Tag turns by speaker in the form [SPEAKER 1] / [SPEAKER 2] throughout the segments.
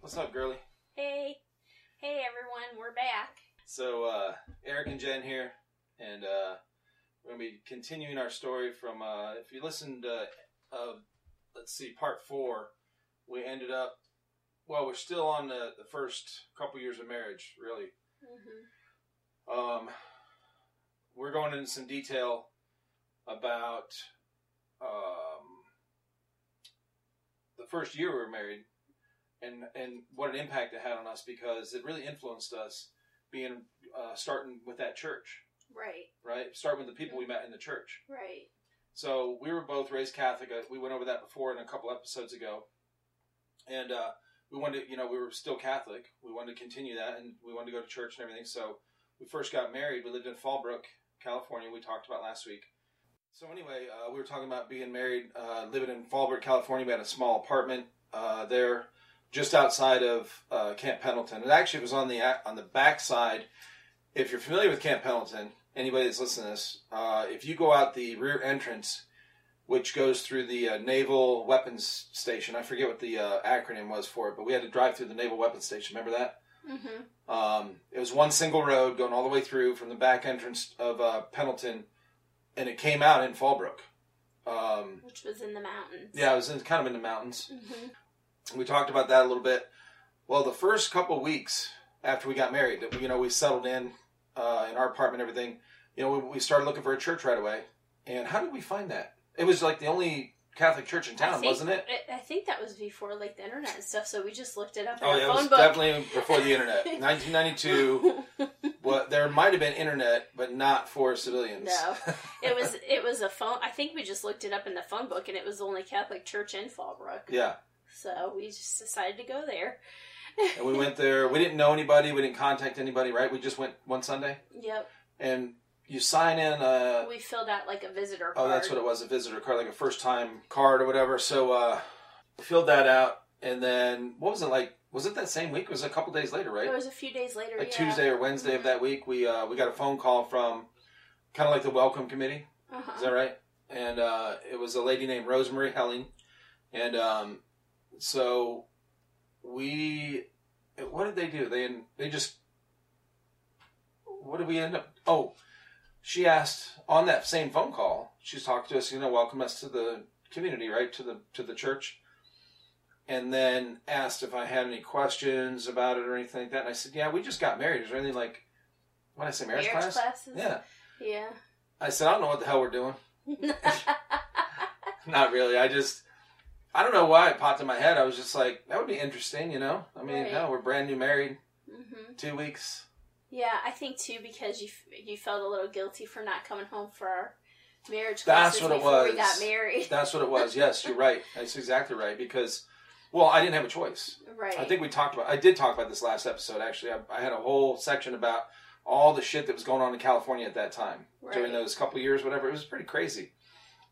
[SPEAKER 1] What's up, girly?
[SPEAKER 2] Hey, hey everyone, we're back.
[SPEAKER 1] So, uh, Eric and Jen here, and uh, we're going to be continuing our story from, uh, if you listened uh, uh, let's see, part four, we ended up, well, we're still on the, the first couple years of marriage, really.
[SPEAKER 2] Mm-hmm.
[SPEAKER 1] Um, we're going into some detail about um, the first year we were married and and what an impact it had on us because it really influenced us being uh, starting with that church,
[SPEAKER 2] Right,
[SPEAKER 1] right? Starting with the people we met in the church.
[SPEAKER 2] right.
[SPEAKER 1] So we were both raised Catholic. Uh, We went over that before in a couple episodes ago, and uh, we wanted, to, you know, we were still Catholic. We wanted to continue that, and we wanted to go to church and everything. So we first got married. We lived in Fallbrook, California. We talked about last week. So anyway, uh, we were talking about being married, uh, living in Fallbrook, California. We had a small apartment uh, there, just outside of uh, Camp Pendleton. It actually was on the a- on the back side. If you're familiar with Camp Pendleton, anybody that's listening to this, uh, if you go out the rear entrance, which goes through the uh, Naval Weapons Station, I forget what the uh, acronym was for it, but we had to drive through the Naval Weapons Station. Remember that?
[SPEAKER 2] Mm-hmm.
[SPEAKER 1] Um, it was one single road going all the way through from the back entrance of uh, Pendleton, and it came out in Fallbrook. Um,
[SPEAKER 2] Which was in the mountains.
[SPEAKER 1] yeah, it was in, kind of in the mountains.
[SPEAKER 2] Mm-hmm.
[SPEAKER 1] We talked about that a little bit. Well, the first couple weeks after we got married, that we, you know, we settled in uh, in our apartment, and everything. You know, we, we started looking for a church right away. And how did we find that? It was like the only Catholic church in
[SPEAKER 2] I
[SPEAKER 1] town,
[SPEAKER 2] think-
[SPEAKER 1] wasn't it?
[SPEAKER 2] I, I think that was before like the internet and stuff, so we just looked it up in
[SPEAKER 1] Oh
[SPEAKER 2] our
[SPEAKER 1] yeah, it
[SPEAKER 2] phone
[SPEAKER 1] was
[SPEAKER 2] book.
[SPEAKER 1] definitely before the internet. 1992. Well, there might have been internet, but not for civilians.
[SPEAKER 2] No. it was it was a phone. I think we just looked it up in the phone book, and it was the only Catholic church in Fallbrook.
[SPEAKER 1] yeah,
[SPEAKER 2] So we just decided to go there.
[SPEAKER 1] and we went there. We didn't know anybody. We didn't contact anybody. Right? We just went one Sunday,
[SPEAKER 2] Yep,
[SPEAKER 1] and you sign in. Uh,
[SPEAKER 2] we filled out like a visitor
[SPEAKER 1] oh,
[SPEAKER 2] card.
[SPEAKER 1] that's what it was—a visitor card, like a first-time card or whatever. So uh, filled that out, and then what was it like? Was it that same week? It was a couple days later, right?
[SPEAKER 2] was a few days later.
[SPEAKER 1] Like
[SPEAKER 2] yeah.
[SPEAKER 1] Tuesday or Wednesday of that week, we uh, we got a phone call from kind of like the welcome committee. Is
[SPEAKER 2] Uh-huh.
[SPEAKER 1] that right? And uh, it was a lady named Rosemary Helling, and um, so we. What did they do? They they just. What did we end up? Oh, she asked on that same phone call. She's talked to us, you know, welcome us to the community, right to the to the church, and then asked if I had any questions about it or anything like that. And I said, yeah, we just got married. Is there anything like when I say marriage,
[SPEAKER 2] Marriage
[SPEAKER 1] class?
[SPEAKER 2] classes.
[SPEAKER 1] Yeah,
[SPEAKER 2] Yeah.
[SPEAKER 1] I said I don't know what the hell we're doing.
[SPEAKER 2] yeah.
[SPEAKER 1] Not really. I just, I don't know why it popped in my head. I was just like, that would be interesting, you know? I mean,
[SPEAKER 2] Right.
[SPEAKER 1] hell, we're brand new married,
[SPEAKER 2] hmm
[SPEAKER 1] two weeks.
[SPEAKER 2] Yeah, I think too because you f- you felt a little guilty for not coming home for our marriage
[SPEAKER 1] That's
[SPEAKER 2] classes
[SPEAKER 1] what it
[SPEAKER 2] before we
[SPEAKER 1] was.
[SPEAKER 2] got married.
[SPEAKER 1] That's what it was. Yes, you're right. That's exactly right. Because, well, I didn't have a choice.
[SPEAKER 2] Right.
[SPEAKER 1] I think we talked about, I did talk about this last episode, actually. I, I had a whole section about all the shit that was going on in California at that time during
[SPEAKER 2] Right.
[SPEAKER 1] those couple years, whatever. It was pretty crazy.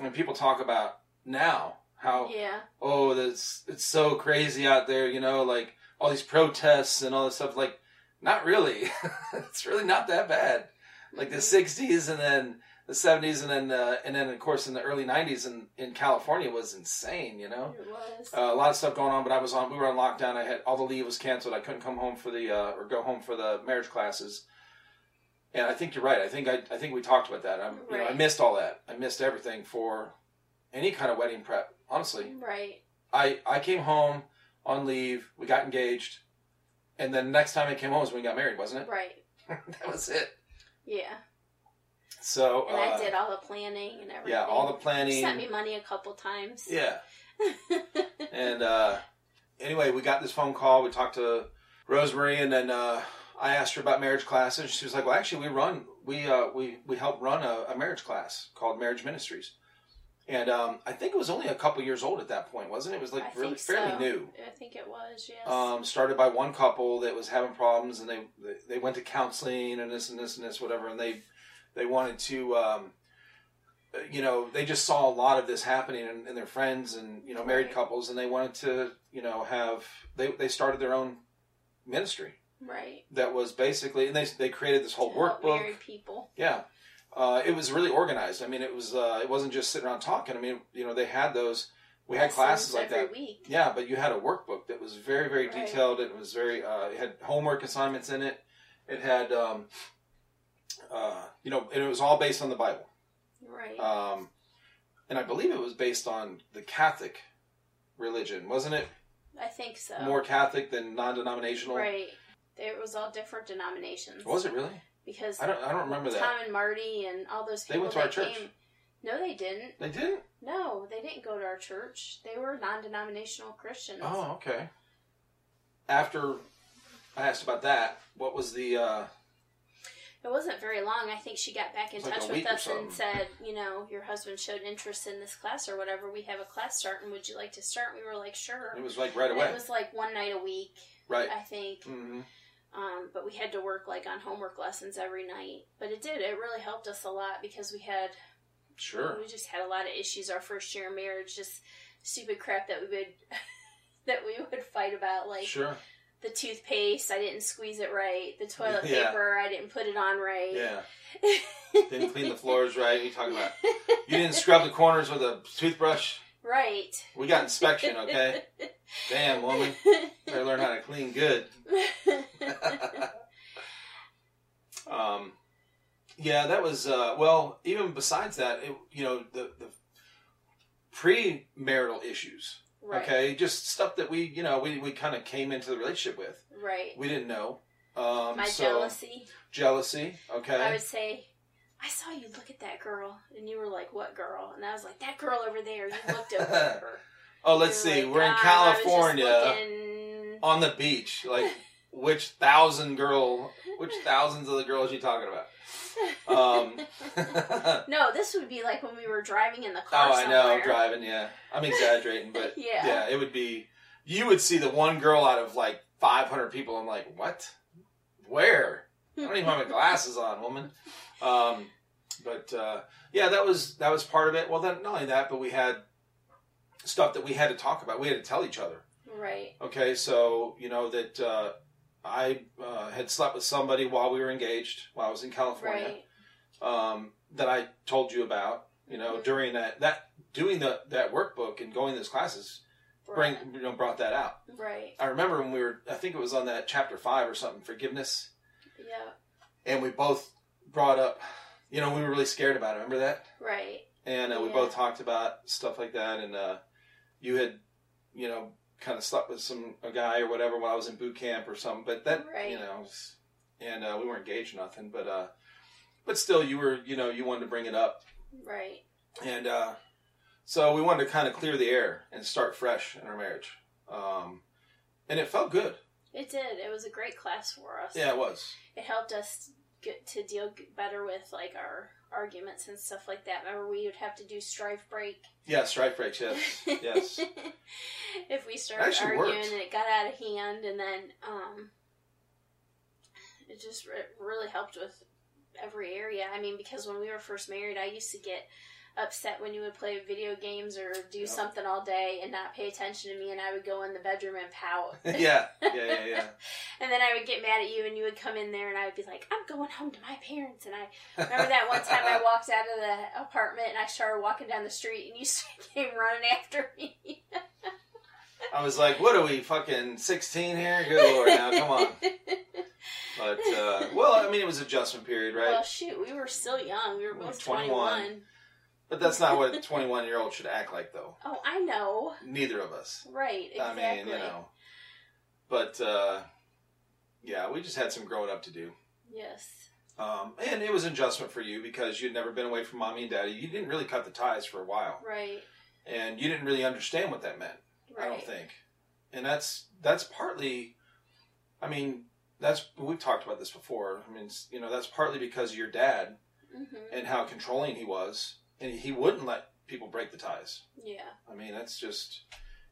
[SPEAKER 1] And people talk about now how
[SPEAKER 2] Yeah.
[SPEAKER 1] oh, that's it's so crazy out there, you know, like all these protests and all this stuff. Like, not really. it's really not that bad. Like the '60s and then the '70s and then uh, and then of course in the early '90s in in California was insane, you know.
[SPEAKER 2] Mm-hmm. It was.
[SPEAKER 1] Uh, a lot of stuff going on, but I was on. We were on lockdown. I had all the leave was canceled. I couldn't come home for the uh, or go home for the marriage classes. And I think you're right. I think I, I think we talked about that. I'm, you know, I
[SPEAKER 2] Right.
[SPEAKER 1] missed all that. I missed everything for any kind of wedding prep. Honestly,
[SPEAKER 2] right.
[SPEAKER 1] I I came home on leave. We got engaged, and then next time I came home was when we got married, wasn't it?
[SPEAKER 2] Right.
[SPEAKER 1] That was it.
[SPEAKER 2] Yeah.
[SPEAKER 1] So
[SPEAKER 2] And
[SPEAKER 1] uh,
[SPEAKER 2] I did all the planning and everything.
[SPEAKER 1] yeah, all the
[SPEAKER 2] She
[SPEAKER 1] planning.
[SPEAKER 2] sent me money a couple times.
[SPEAKER 1] yeah, and uh, anyway, we got this phone call. We talked to Rosemary, and then uh, I asked her about marriage classes. She was like, "Well, actually, we run we uh, we we help run a, a marriage class called Marriage Ministries." And um, I think it was only a couple years old at that point, wasn't it? It was like
[SPEAKER 2] I
[SPEAKER 1] really
[SPEAKER 2] think
[SPEAKER 1] fairly
[SPEAKER 2] so.
[SPEAKER 1] new.
[SPEAKER 2] I think it was. Yes.
[SPEAKER 1] um, started by one couple that was having problems, and they they went to counseling and this and this and this whatever, and they they wanted to, um, you know, they just saw a lot of this happening in, in their friends and you know married
[SPEAKER 2] Right.
[SPEAKER 1] couples, and they wanted to you know have they they started their own ministry
[SPEAKER 2] right.
[SPEAKER 1] that was basically and they they created this whole
[SPEAKER 2] To help
[SPEAKER 1] workbook
[SPEAKER 2] Married people.
[SPEAKER 1] yeah. Uh, it was really organized. I mean, it was uh, it wasn't just sitting around talking. I mean, you know, they had those we had classes
[SPEAKER 2] lessons
[SPEAKER 1] like
[SPEAKER 2] every
[SPEAKER 1] that.
[SPEAKER 2] week.
[SPEAKER 1] Yeah, but you had a workbook that was very, very
[SPEAKER 2] Right.
[SPEAKER 1] detailed. It was very uh, it had homework assignments in it. It had um, uh, you know, and it was all based on the Bible.
[SPEAKER 2] Right.
[SPEAKER 1] Um, and I believe it was based on the Catholic religion, wasn't it?
[SPEAKER 2] I think so.
[SPEAKER 1] More Catholic than non-denominational.
[SPEAKER 2] Oh. right. There was all different denominations.
[SPEAKER 1] Was it really?
[SPEAKER 2] Because
[SPEAKER 1] I
[SPEAKER 2] Tom
[SPEAKER 1] don't. I don't remember that.
[SPEAKER 2] and Marty and all those
[SPEAKER 1] They
[SPEAKER 2] people
[SPEAKER 1] went to our
[SPEAKER 2] that
[SPEAKER 1] church.
[SPEAKER 2] came- No, they didn't.
[SPEAKER 1] They didn't.
[SPEAKER 2] No, they didn't go to our church. They were non-denominational Christians.
[SPEAKER 1] Oh, okay. After I asked about that, what was the? Uh,
[SPEAKER 2] It wasn't very long. I think she got back in
[SPEAKER 1] It was like a
[SPEAKER 2] touch with
[SPEAKER 1] week or
[SPEAKER 2] us
[SPEAKER 1] something.
[SPEAKER 2] and said, you know, your husband showed interest in this class or whatever. We have a class starting. Would you like to start? We were like, sure.
[SPEAKER 1] it was like right away,
[SPEAKER 2] It was like one night a week,
[SPEAKER 1] right?
[SPEAKER 2] I think.
[SPEAKER 1] hmm
[SPEAKER 2] Um, but we had to work like on homework lessons every night. But it did. It really helped us a lot because we had
[SPEAKER 1] Sure.
[SPEAKER 2] we just had a lot of issues our first year of marriage. Just stupid crap that we would that we would fight about, like
[SPEAKER 1] sure.
[SPEAKER 2] the toothpaste. I didn't squeeze it right. The toilet
[SPEAKER 1] Yeah.
[SPEAKER 2] paper. I didn't put it on right.
[SPEAKER 1] Yeah. Didn't clean the floors right. You talking about? You didn't scrub the corners with a toothbrush.
[SPEAKER 2] Right.
[SPEAKER 1] We got inspection, okay? Damn, woman. Better learn how to clean good. um, yeah, that was uh, well. Even besides that, it, you know, the the pre-marital issues.
[SPEAKER 2] right.
[SPEAKER 1] Okay, just stuff that we, you know, we, we kind of came into the relationship with.
[SPEAKER 2] Right.
[SPEAKER 1] We didn't know. Um,
[SPEAKER 2] My
[SPEAKER 1] so,
[SPEAKER 2] jealousy.
[SPEAKER 1] Jealousy. Okay.
[SPEAKER 2] I would say, I saw you look at that girl, and you were like, "What girl?" And I was like, "That girl over there." You looked over at her.
[SPEAKER 1] oh, let's
[SPEAKER 2] You were
[SPEAKER 1] see.
[SPEAKER 2] like,
[SPEAKER 1] We're in
[SPEAKER 2] "God, I was just
[SPEAKER 1] California
[SPEAKER 2] looking."
[SPEAKER 1] on the beach. Like, which thousand girl? Which thousands of the girls you talking about? Um, oh,
[SPEAKER 2] no, this would be like when we were driving in the car.
[SPEAKER 1] I know.
[SPEAKER 2] somewhere.
[SPEAKER 1] Driving. Yeah, I'm exaggerating, but
[SPEAKER 2] yeah.
[SPEAKER 1] yeah, it would be. You would see the one girl out of like 500 people. I'm like, what? Where?
[SPEAKER 2] Hmm.
[SPEAKER 1] I don't even have my glasses on, woman. Um, but uh, yeah, that was that was part of it. Well, then not only that, but we had stuff that we had to talk about. We had to tell each other.
[SPEAKER 2] Right.
[SPEAKER 1] Okay, so you know that uh, I uh, had slept with somebody while we were engaged, while I was in California,
[SPEAKER 2] Right.
[SPEAKER 1] um, that I told you about. You know,
[SPEAKER 2] Mhm.
[SPEAKER 1] during that that doing the that workbook and going to those classes, bring you know brought that out.
[SPEAKER 2] Right.
[SPEAKER 1] I remember when we were, I think it was on that chapter five or something, forgiveness
[SPEAKER 2] Yeah.
[SPEAKER 1] and we both brought up, you know, we were really scared about it. Remember that?
[SPEAKER 2] Right.
[SPEAKER 1] And uh, we
[SPEAKER 2] Yeah.
[SPEAKER 1] both talked about stuff like that. And uh, you had, you know, kind of slept with some a guy or whatever while I was in boot camp or something. But that, you
[SPEAKER 2] Right.
[SPEAKER 1] know, was- and uh, we weren't engaged or nothing. But uh, but still, you were, you know, you wanted to bring it up,
[SPEAKER 2] Right.
[SPEAKER 1] and uh, so we wanted to kind of clear the air and start fresh in our marriage. Um, and it felt good.
[SPEAKER 2] It did. It was a great class for us.
[SPEAKER 1] Yeah, it was.
[SPEAKER 2] It helped us get to deal g- better with like our arguments and stuff like that. Remember, we would have to do strife break.
[SPEAKER 1] Yeah, strike breaks. Yes, yes.
[SPEAKER 2] if we started
[SPEAKER 1] Actually
[SPEAKER 2] arguing
[SPEAKER 1] worked.
[SPEAKER 2] and it got out of hand, and then um, it just it really helped with every area. I mean, because when we were first married, I used to get upset when you would play video games or do
[SPEAKER 1] Yeah.
[SPEAKER 2] something all day and not pay attention to me, and I would go in the bedroom and pout.
[SPEAKER 1] yeah, yeah, yeah, yeah.
[SPEAKER 2] And then I would get mad at you, and you would come in there, and I would be like, "I'm going home to my parents." And I remember that one time I walked out of the apartment and I started walking down the street, and you came running after me.
[SPEAKER 1] I was like, what are we, fucking 16 here? Good lord, now come on. But, uh, well, I mean, it was adjustment period, right?
[SPEAKER 2] Well, shoot, we were still young. We were
[SPEAKER 1] We were
[SPEAKER 2] both
[SPEAKER 1] 21.
[SPEAKER 2] 21.
[SPEAKER 1] but that's not what a 21 year old should act like, though.
[SPEAKER 2] Oh, I know.
[SPEAKER 1] Neither of us.
[SPEAKER 2] Right, exactly.
[SPEAKER 1] I mean, you know. But, uh, yeah, we just had some growing up to do.
[SPEAKER 2] Yes.
[SPEAKER 1] Um, and it was an adjustment for you because you'd never been away from mommy and daddy. You didn't really cut the ties for a while.
[SPEAKER 2] Right,
[SPEAKER 1] And you didn't really understand what that meant.
[SPEAKER 2] right.
[SPEAKER 1] I don't think. And that's that's partly I mean, that's we've talked about this before. I mean, it's- you know, that's partly because of your dad
[SPEAKER 2] hmm
[SPEAKER 1] and how controlling he was and he wouldn't let people break the ties.
[SPEAKER 2] Yeah,
[SPEAKER 1] I mean, that's just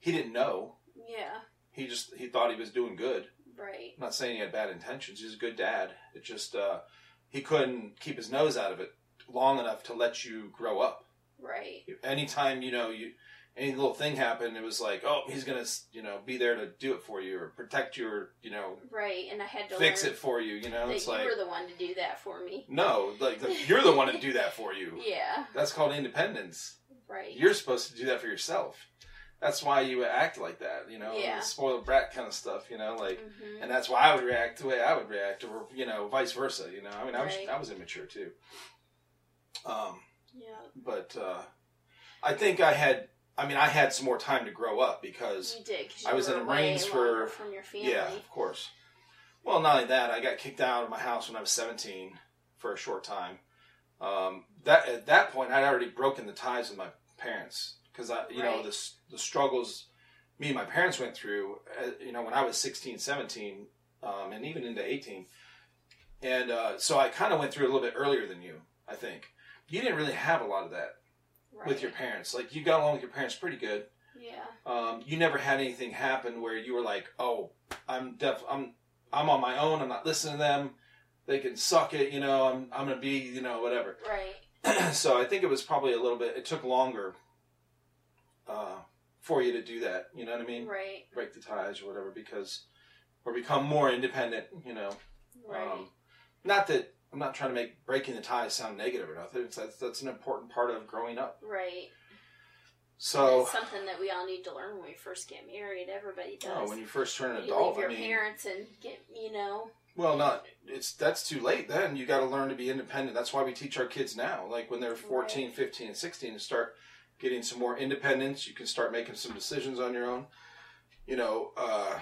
[SPEAKER 1] he didn't know.
[SPEAKER 2] yeah,
[SPEAKER 1] He just he thought he was doing good.
[SPEAKER 2] right.
[SPEAKER 1] I'm not saying he had bad intentions. He's a good dad. It just uh he couldn't keep his nose out of it long enough to let you grow up
[SPEAKER 2] Right,
[SPEAKER 1] anytime you know you any little thing happened it was like oh he's gonna you know be there to do it for you or protect you or you know
[SPEAKER 2] right. And I had to
[SPEAKER 1] fix
[SPEAKER 2] learn
[SPEAKER 1] it for you you know
[SPEAKER 2] that
[SPEAKER 1] it's
[SPEAKER 2] you
[SPEAKER 1] like
[SPEAKER 2] were the one to do that for me.
[SPEAKER 1] no like the, you're the one to do that for you
[SPEAKER 2] Yeah,
[SPEAKER 1] that's called independence
[SPEAKER 2] right.
[SPEAKER 1] you're supposed to do that for yourself that's why you act like that, you know,
[SPEAKER 2] Yeah.
[SPEAKER 1] spoiled brat kind of stuff, you know, like,
[SPEAKER 2] hmm
[SPEAKER 1] and that's why I would react the way I would react, or you know, vice versa, you know. I mean, I was
[SPEAKER 2] Right.
[SPEAKER 1] I was immature too. Um,
[SPEAKER 2] Yeah,
[SPEAKER 1] but uh, I think I had, I mean, I had some more time to grow up because,
[SPEAKER 2] you did. 'cause you
[SPEAKER 1] I was
[SPEAKER 2] were
[SPEAKER 1] in the
[SPEAKER 2] away
[SPEAKER 1] Marines for-
[SPEAKER 2] longer from your family.
[SPEAKER 1] yeah, of course. Well, not only that, I got kicked out of my house when I was 17 for a short time. Um, that at that point, I'd already broken the ties with my parents because I, you know,
[SPEAKER 2] Right.
[SPEAKER 1] the s- the struggles me and my parents went through, uh, you know, when I was 16, 17, um, and even into 18. And uh, so I kind of went through it a little bit earlier than you, I think. You didn't really have a lot of that
[SPEAKER 2] right.
[SPEAKER 1] with your parents. Like you got along with your parents pretty good.
[SPEAKER 2] Yeah,
[SPEAKER 1] Um, you never had anything happen where you were like, "Oh, I'm def- I'm I'm on my own. I'm not listening to them. They can suck it. You know, I'm I'm gonna be you know whatever."
[SPEAKER 2] right.
[SPEAKER 1] so I think it was probably a little bit. It took longer uh, for you to do that. You know what I mean?
[SPEAKER 2] Right,
[SPEAKER 1] Break the ties or whatever because or become more independent. You know,
[SPEAKER 2] right.
[SPEAKER 1] um, not that. I'm not trying to make breaking the ties sound negative or nothing. It's, that's, that's an important part of growing up.
[SPEAKER 2] right.
[SPEAKER 1] So
[SPEAKER 2] It's something that we all need to learn when we first get married. Everybody does.
[SPEAKER 1] No, Oh, when you first turn an
[SPEAKER 2] You
[SPEAKER 1] adult,
[SPEAKER 2] leave your
[SPEAKER 1] I mean,
[SPEAKER 2] parents and get, you know,
[SPEAKER 1] well, not it's that's too late. Then you got to learn to be independent. That's why we teach our kids now, like when they're 14, 15, and 16, and start getting some more independence. You can start making some decisions on your own, you know, uh,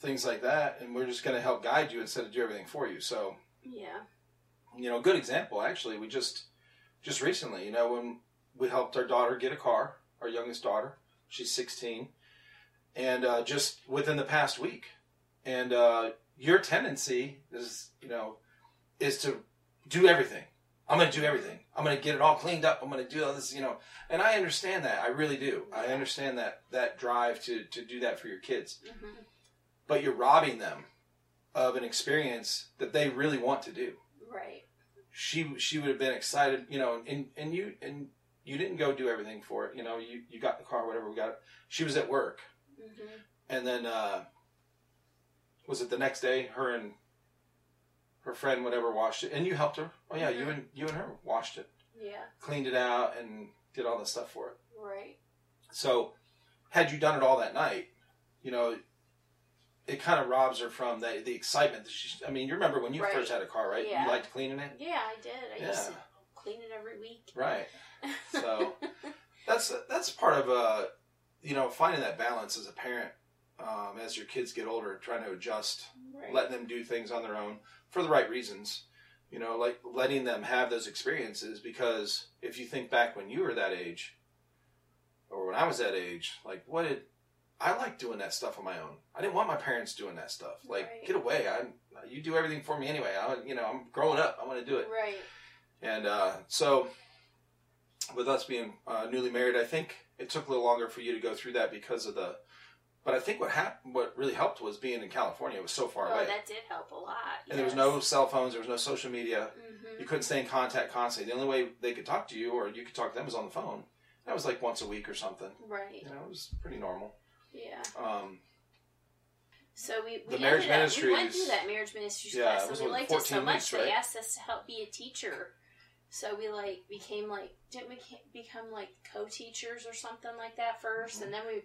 [SPEAKER 1] things like that. And we're just going to help guide you instead of do everything for you. So,
[SPEAKER 2] yeah,
[SPEAKER 1] you know, good example actually. We just just recently, you know, when we helped our daughter get a car, our youngest daughter, she's 16, and uh, just within the past week. And uh, your tendency is, you know, is to do everything. I'm going to do everything. I'm going to get it all cleaned up. I'm going to do all this, you know. And I understand that. I really do. I understand that that drive to to do that for your kids.
[SPEAKER 2] hmm
[SPEAKER 1] But you're robbing them of an experience that they really want to do
[SPEAKER 2] right,
[SPEAKER 1] she she would have been excited, you know, and and you and you didn't go do everything for it, you know, you you got the car, whatever we got. it. She was at work,
[SPEAKER 2] hmm
[SPEAKER 1] and then uh, was it the next day? Her and her friend, whatever, washed it, and you helped her. Oh yeah,
[SPEAKER 2] Mm-hmm.
[SPEAKER 1] you and you and her washed it,
[SPEAKER 2] yeah,
[SPEAKER 1] cleaned it out, and did all this stuff for it.
[SPEAKER 2] right,
[SPEAKER 1] So had you done it all that night, you know. It kind of robs her from the, the excitement. That she, I mean, you remember when you
[SPEAKER 2] Right.
[SPEAKER 1] first had a car, right?
[SPEAKER 2] Yeah.
[SPEAKER 1] You liked cleaning it,
[SPEAKER 2] yeah. I did. I used to
[SPEAKER 1] Yeah.
[SPEAKER 2] clean it every week.
[SPEAKER 1] right? So that's that's part of uh, you know finding that balance as a parent um, as your kids get older, trying to adjust,
[SPEAKER 2] right,
[SPEAKER 1] letting them do things on their own for the right reasons. You know, like letting them have those experiences because if you think back when you were that age, or when I was that age, like what did I like doing that stuff on my own? I didn't want my parents doing that stuff. Like
[SPEAKER 2] Right.
[SPEAKER 1] get away! I you do everything for me anyway. I you know I'm growing up. I want to do it.
[SPEAKER 2] right,
[SPEAKER 1] And uh, so, with us being uh, newly married, I think it took a little longer for you to go through that because of the. But I think what happened, what really helped, was being in California. It was so far
[SPEAKER 2] Oh,
[SPEAKER 1] away,
[SPEAKER 2] that did help a lot.
[SPEAKER 1] and there was no cell phones, there was no social media.
[SPEAKER 2] Mm-hmm.
[SPEAKER 1] You couldn't stay in contact constantly. The only way they could talk to you, or you could talk to them, was on the phone. That was like once a week or something.
[SPEAKER 2] Right.
[SPEAKER 1] You know, it was pretty normal.
[SPEAKER 2] Yeah.
[SPEAKER 1] Um,
[SPEAKER 2] So we,
[SPEAKER 1] The
[SPEAKER 2] we
[SPEAKER 1] marriage
[SPEAKER 2] ended up, we went
[SPEAKER 1] ministries-
[SPEAKER 2] through that marriage ministries
[SPEAKER 1] Yeah, it
[SPEAKER 2] class,
[SPEAKER 1] was
[SPEAKER 2] and we
[SPEAKER 1] like
[SPEAKER 2] liked it
[SPEAKER 1] 14
[SPEAKER 2] so much
[SPEAKER 1] weeks,
[SPEAKER 2] they
[SPEAKER 1] right?
[SPEAKER 2] asked us to help be a teacher. So we like became like didn't we ca- become like co-teachers or something like that 1st
[SPEAKER 1] Mm-hmm.
[SPEAKER 2] and then we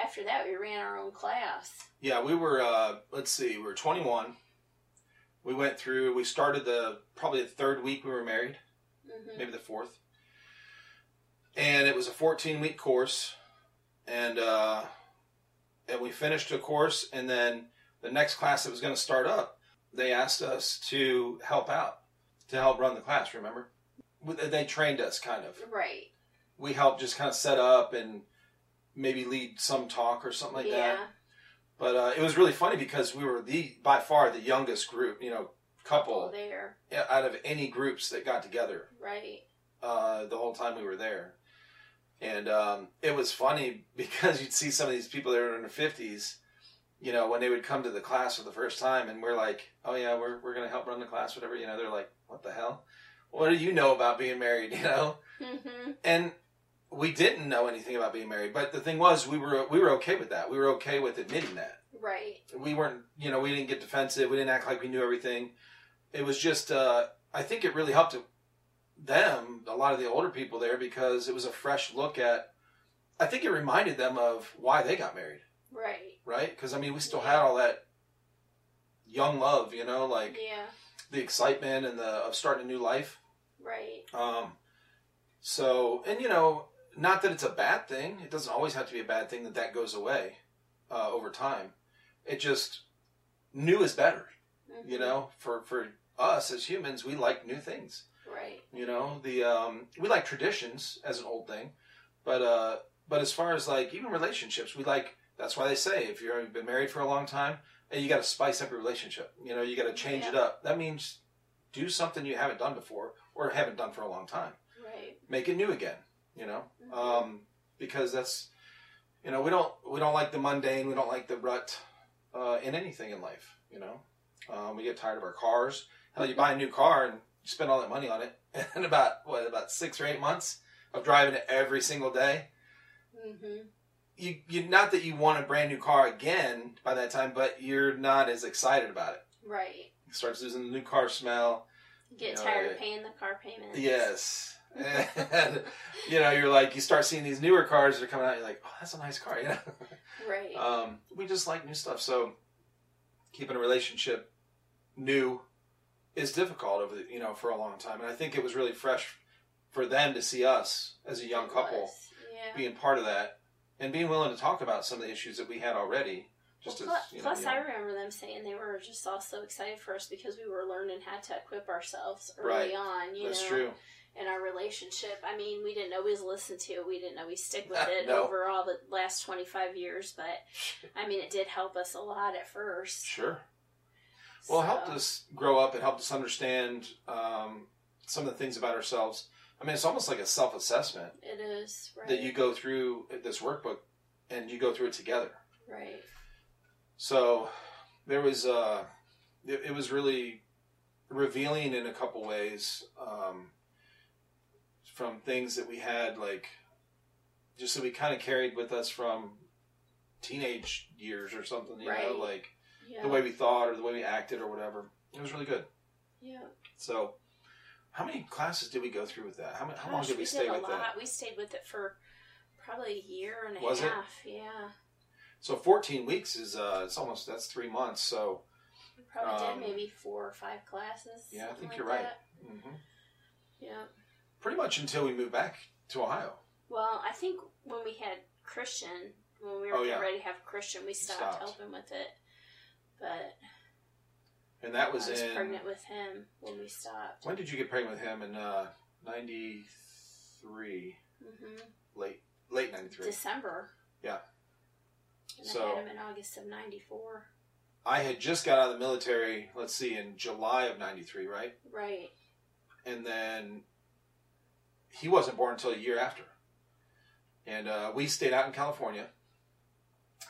[SPEAKER 2] after that we ran our own class.
[SPEAKER 1] Yeah, we were. Uh, let's see, we were 21. We went through. We started the probably the third week we were married.
[SPEAKER 2] hmm
[SPEAKER 1] maybe the fourth. And it was a 14 week course, and uh, and we finished the course, and then the next class that was going to start up, they asked us to help out, to help run the class. Remember, We- they trained us kind of.
[SPEAKER 2] Right.
[SPEAKER 1] We helped just kind of set up and maybe lead some talk or something like
[SPEAKER 2] yeah.
[SPEAKER 1] that. But uh, it was really funny because we were the by far the youngest group, you know,
[SPEAKER 2] Couple
[SPEAKER 1] couple
[SPEAKER 2] there.
[SPEAKER 1] out of any groups that got together
[SPEAKER 2] Right.
[SPEAKER 1] uh, the whole time we were there. And um, it was funny because you'd see some of these people that were in their fifties, you know, when they would come to the class for the first time, and we're like, "Oh yeah, we're we're gonna help run the class, whatever." You know, they're like, "What the hell? What do you know about being married?" You know,
[SPEAKER 2] Mm-hmm.
[SPEAKER 1] and we didn't know anything about being married. But the thing was, we were we were okay with that. We were okay with admitting that
[SPEAKER 2] Right.
[SPEAKER 1] we weren't you know we didn't get defensive we didn't act like we knew everything it was just uh, i think it really helped them a lot of the older people there because it was a fresh look at I think it reminded them of why they got married,
[SPEAKER 2] Right.
[SPEAKER 1] right? Because I mean, we still had all that young love, you know, like
[SPEAKER 2] yeah.
[SPEAKER 1] the excitement and the of starting a new life.
[SPEAKER 2] Right.
[SPEAKER 1] Um, so, and you know, not that it's a bad thing. It doesn't always have to be a bad thing that that goes away uh, over time. It just new is better,
[SPEAKER 2] Mhm.
[SPEAKER 1] you know. For for us as humans, we like new things.
[SPEAKER 2] Right.
[SPEAKER 1] You know, the um, we like traditions as an old thing, but uh, but as far as like even relationships, we like. That's why they say if you've been married for a long time, eh, you got to spice up your relationship. You know, you got to change it up. That means do something you haven't done before or haven't done for a long time.
[SPEAKER 2] Right.
[SPEAKER 1] Make it new again. You know,
[SPEAKER 2] Mhm.
[SPEAKER 1] um, because that's you know we don't we don't like the mundane. We don't like the rut uh, in anything in life. You know, um, we get tired of our cars. Hell, you buy a new car and you spend all that money on it, and about what about six or eight months of driving it every single day.
[SPEAKER 2] Mhm.
[SPEAKER 1] You, you not that you want a brand new car again by that time, but you're not as excited about it.
[SPEAKER 2] Right.
[SPEAKER 1] It starts losing the new car smell.
[SPEAKER 2] Get
[SPEAKER 1] Yeah,
[SPEAKER 2] tired
[SPEAKER 1] right.
[SPEAKER 2] of paying the car payments.
[SPEAKER 1] Yes. And you know, you're like you start seeing these newer cars that are coming out. You're like, oh, that's a nice car. You know,
[SPEAKER 2] right.
[SPEAKER 1] um, we just like new stuff. So keeping a relationship new is difficult over the, you know for a long time, and I think it was really fresh for them to see us as a young
[SPEAKER 2] It
[SPEAKER 1] couple
[SPEAKER 2] was, Yeah.
[SPEAKER 1] being part of that and being willing to talk about some of the issues that we had already. Just
[SPEAKER 2] Well,
[SPEAKER 1] as
[SPEAKER 2] pl-
[SPEAKER 1] you know,
[SPEAKER 2] plus,
[SPEAKER 1] young.
[SPEAKER 2] I remember them saying they were just all so excited for us because we were learning how to equip ourselves early
[SPEAKER 1] Right.
[SPEAKER 2] on. You
[SPEAKER 1] that's
[SPEAKER 2] know,
[SPEAKER 1] true.
[SPEAKER 2] in our relationship. I mean, we didn't always listen to it. We didn't always stick with it
[SPEAKER 1] No.
[SPEAKER 2] over all the last 25 years, but I mean, it did help us a lot at first.
[SPEAKER 1] Sure. Well, it
[SPEAKER 2] So,
[SPEAKER 1] helped us grow up. It helped us understand um, some of the things about ourselves. I mean, it's almost like a self-assessment
[SPEAKER 2] It is, right?
[SPEAKER 1] that you go through this workbook, and you go through it together.
[SPEAKER 2] right.
[SPEAKER 1] So there was uh, it, it was really revealing in a couple ways um, from things that we had like just that we kind of carried with us from teenage years or something, you
[SPEAKER 2] Right.
[SPEAKER 1] know, like
[SPEAKER 2] Yeah.
[SPEAKER 1] the way we thought or the way we acted or whatever. It was really good.
[SPEAKER 2] yeah.
[SPEAKER 1] So how many classes did we go through with that? How, many, how long
[SPEAKER 2] Gosh,
[SPEAKER 1] did we, stay
[SPEAKER 2] did a
[SPEAKER 1] with
[SPEAKER 2] lot.
[SPEAKER 1] that?
[SPEAKER 2] We stayed with it for probably a year and a
[SPEAKER 1] Was it?
[SPEAKER 2] half. Yeah.
[SPEAKER 1] So 14 weeks is uh, it's almost that's three months. So
[SPEAKER 2] We probably
[SPEAKER 1] Um,
[SPEAKER 2] did maybe four or five classes.
[SPEAKER 1] yeah, I
[SPEAKER 2] something
[SPEAKER 1] think
[SPEAKER 2] like
[SPEAKER 1] you're right.
[SPEAKER 2] that.
[SPEAKER 1] hmm
[SPEAKER 2] Yeah.
[SPEAKER 1] pretty much until we moved back to Ohio.
[SPEAKER 2] Well, I think when we had Christian, when we were
[SPEAKER 1] Oh, yeah.
[SPEAKER 2] ready to have Christian, we stopped,
[SPEAKER 1] Stopped.
[SPEAKER 2] helping with it. But
[SPEAKER 1] And that was,
[SPEAKER 2] I was
[SPEAKER 1] in.
[SPEAKER 2] pregnant with him when we stopped.
[SPEAKER 1] When did you get pregnant with him? In uh, '93,
[SPEAKER 2] hmm
[SPEAKER 1] late late '93.
[SPEAKER 2] December.
[SPEAKER 1] Yeah.
[SPEAKER 2] And I
[SPEAKER 1] So-
[SPEAKER 2] had him in August of '94.
[SPEAKER 1] I had just got out of the military. Let's see, in July of '93, right?
[SPEAKER 2] Right.
[SPEAKER 1] And then he wasn't born until a year after. And uh, we stayed out in California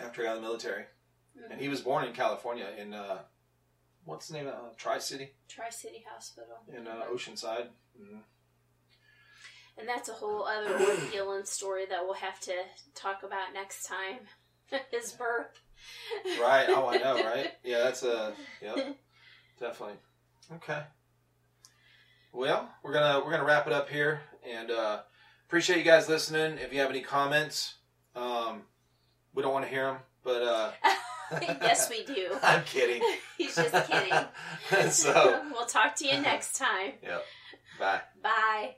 [SPEAKER 1] after I got out of the military,
[SPEAKER 2] Mm-hmm.
[SPEAKER 1] and he was born in California in uh, what's the name of uh, Tri City
[SPEAKER 2] Tri City Hospital.
[SPEAKER 1] in uh, Oceanside. hmm
[SPEAKER 2] And that's a whole other Woody Gillen story that we'll have to talk about next time. His birth.
[SPEAKER 1] Right? Oh, I know, right? Yeah, that's a yep, definitely. Okay. Well, we're gonna we're gonna wrap it up here, and uh, appreciate you guys listening. If you have any comments, um, we don't want to hear them, but uh,
[SPEAKER 2] yes, we do.
[SPEAKER 1] I'm kidding.
[SPEAKER 2] He's just kidding.
[SPEAKER 1] so
[SPEAKER 2] we'll talk to you next time.
[SPEAKER 1] bye.
[SPEAKER 2] Bye.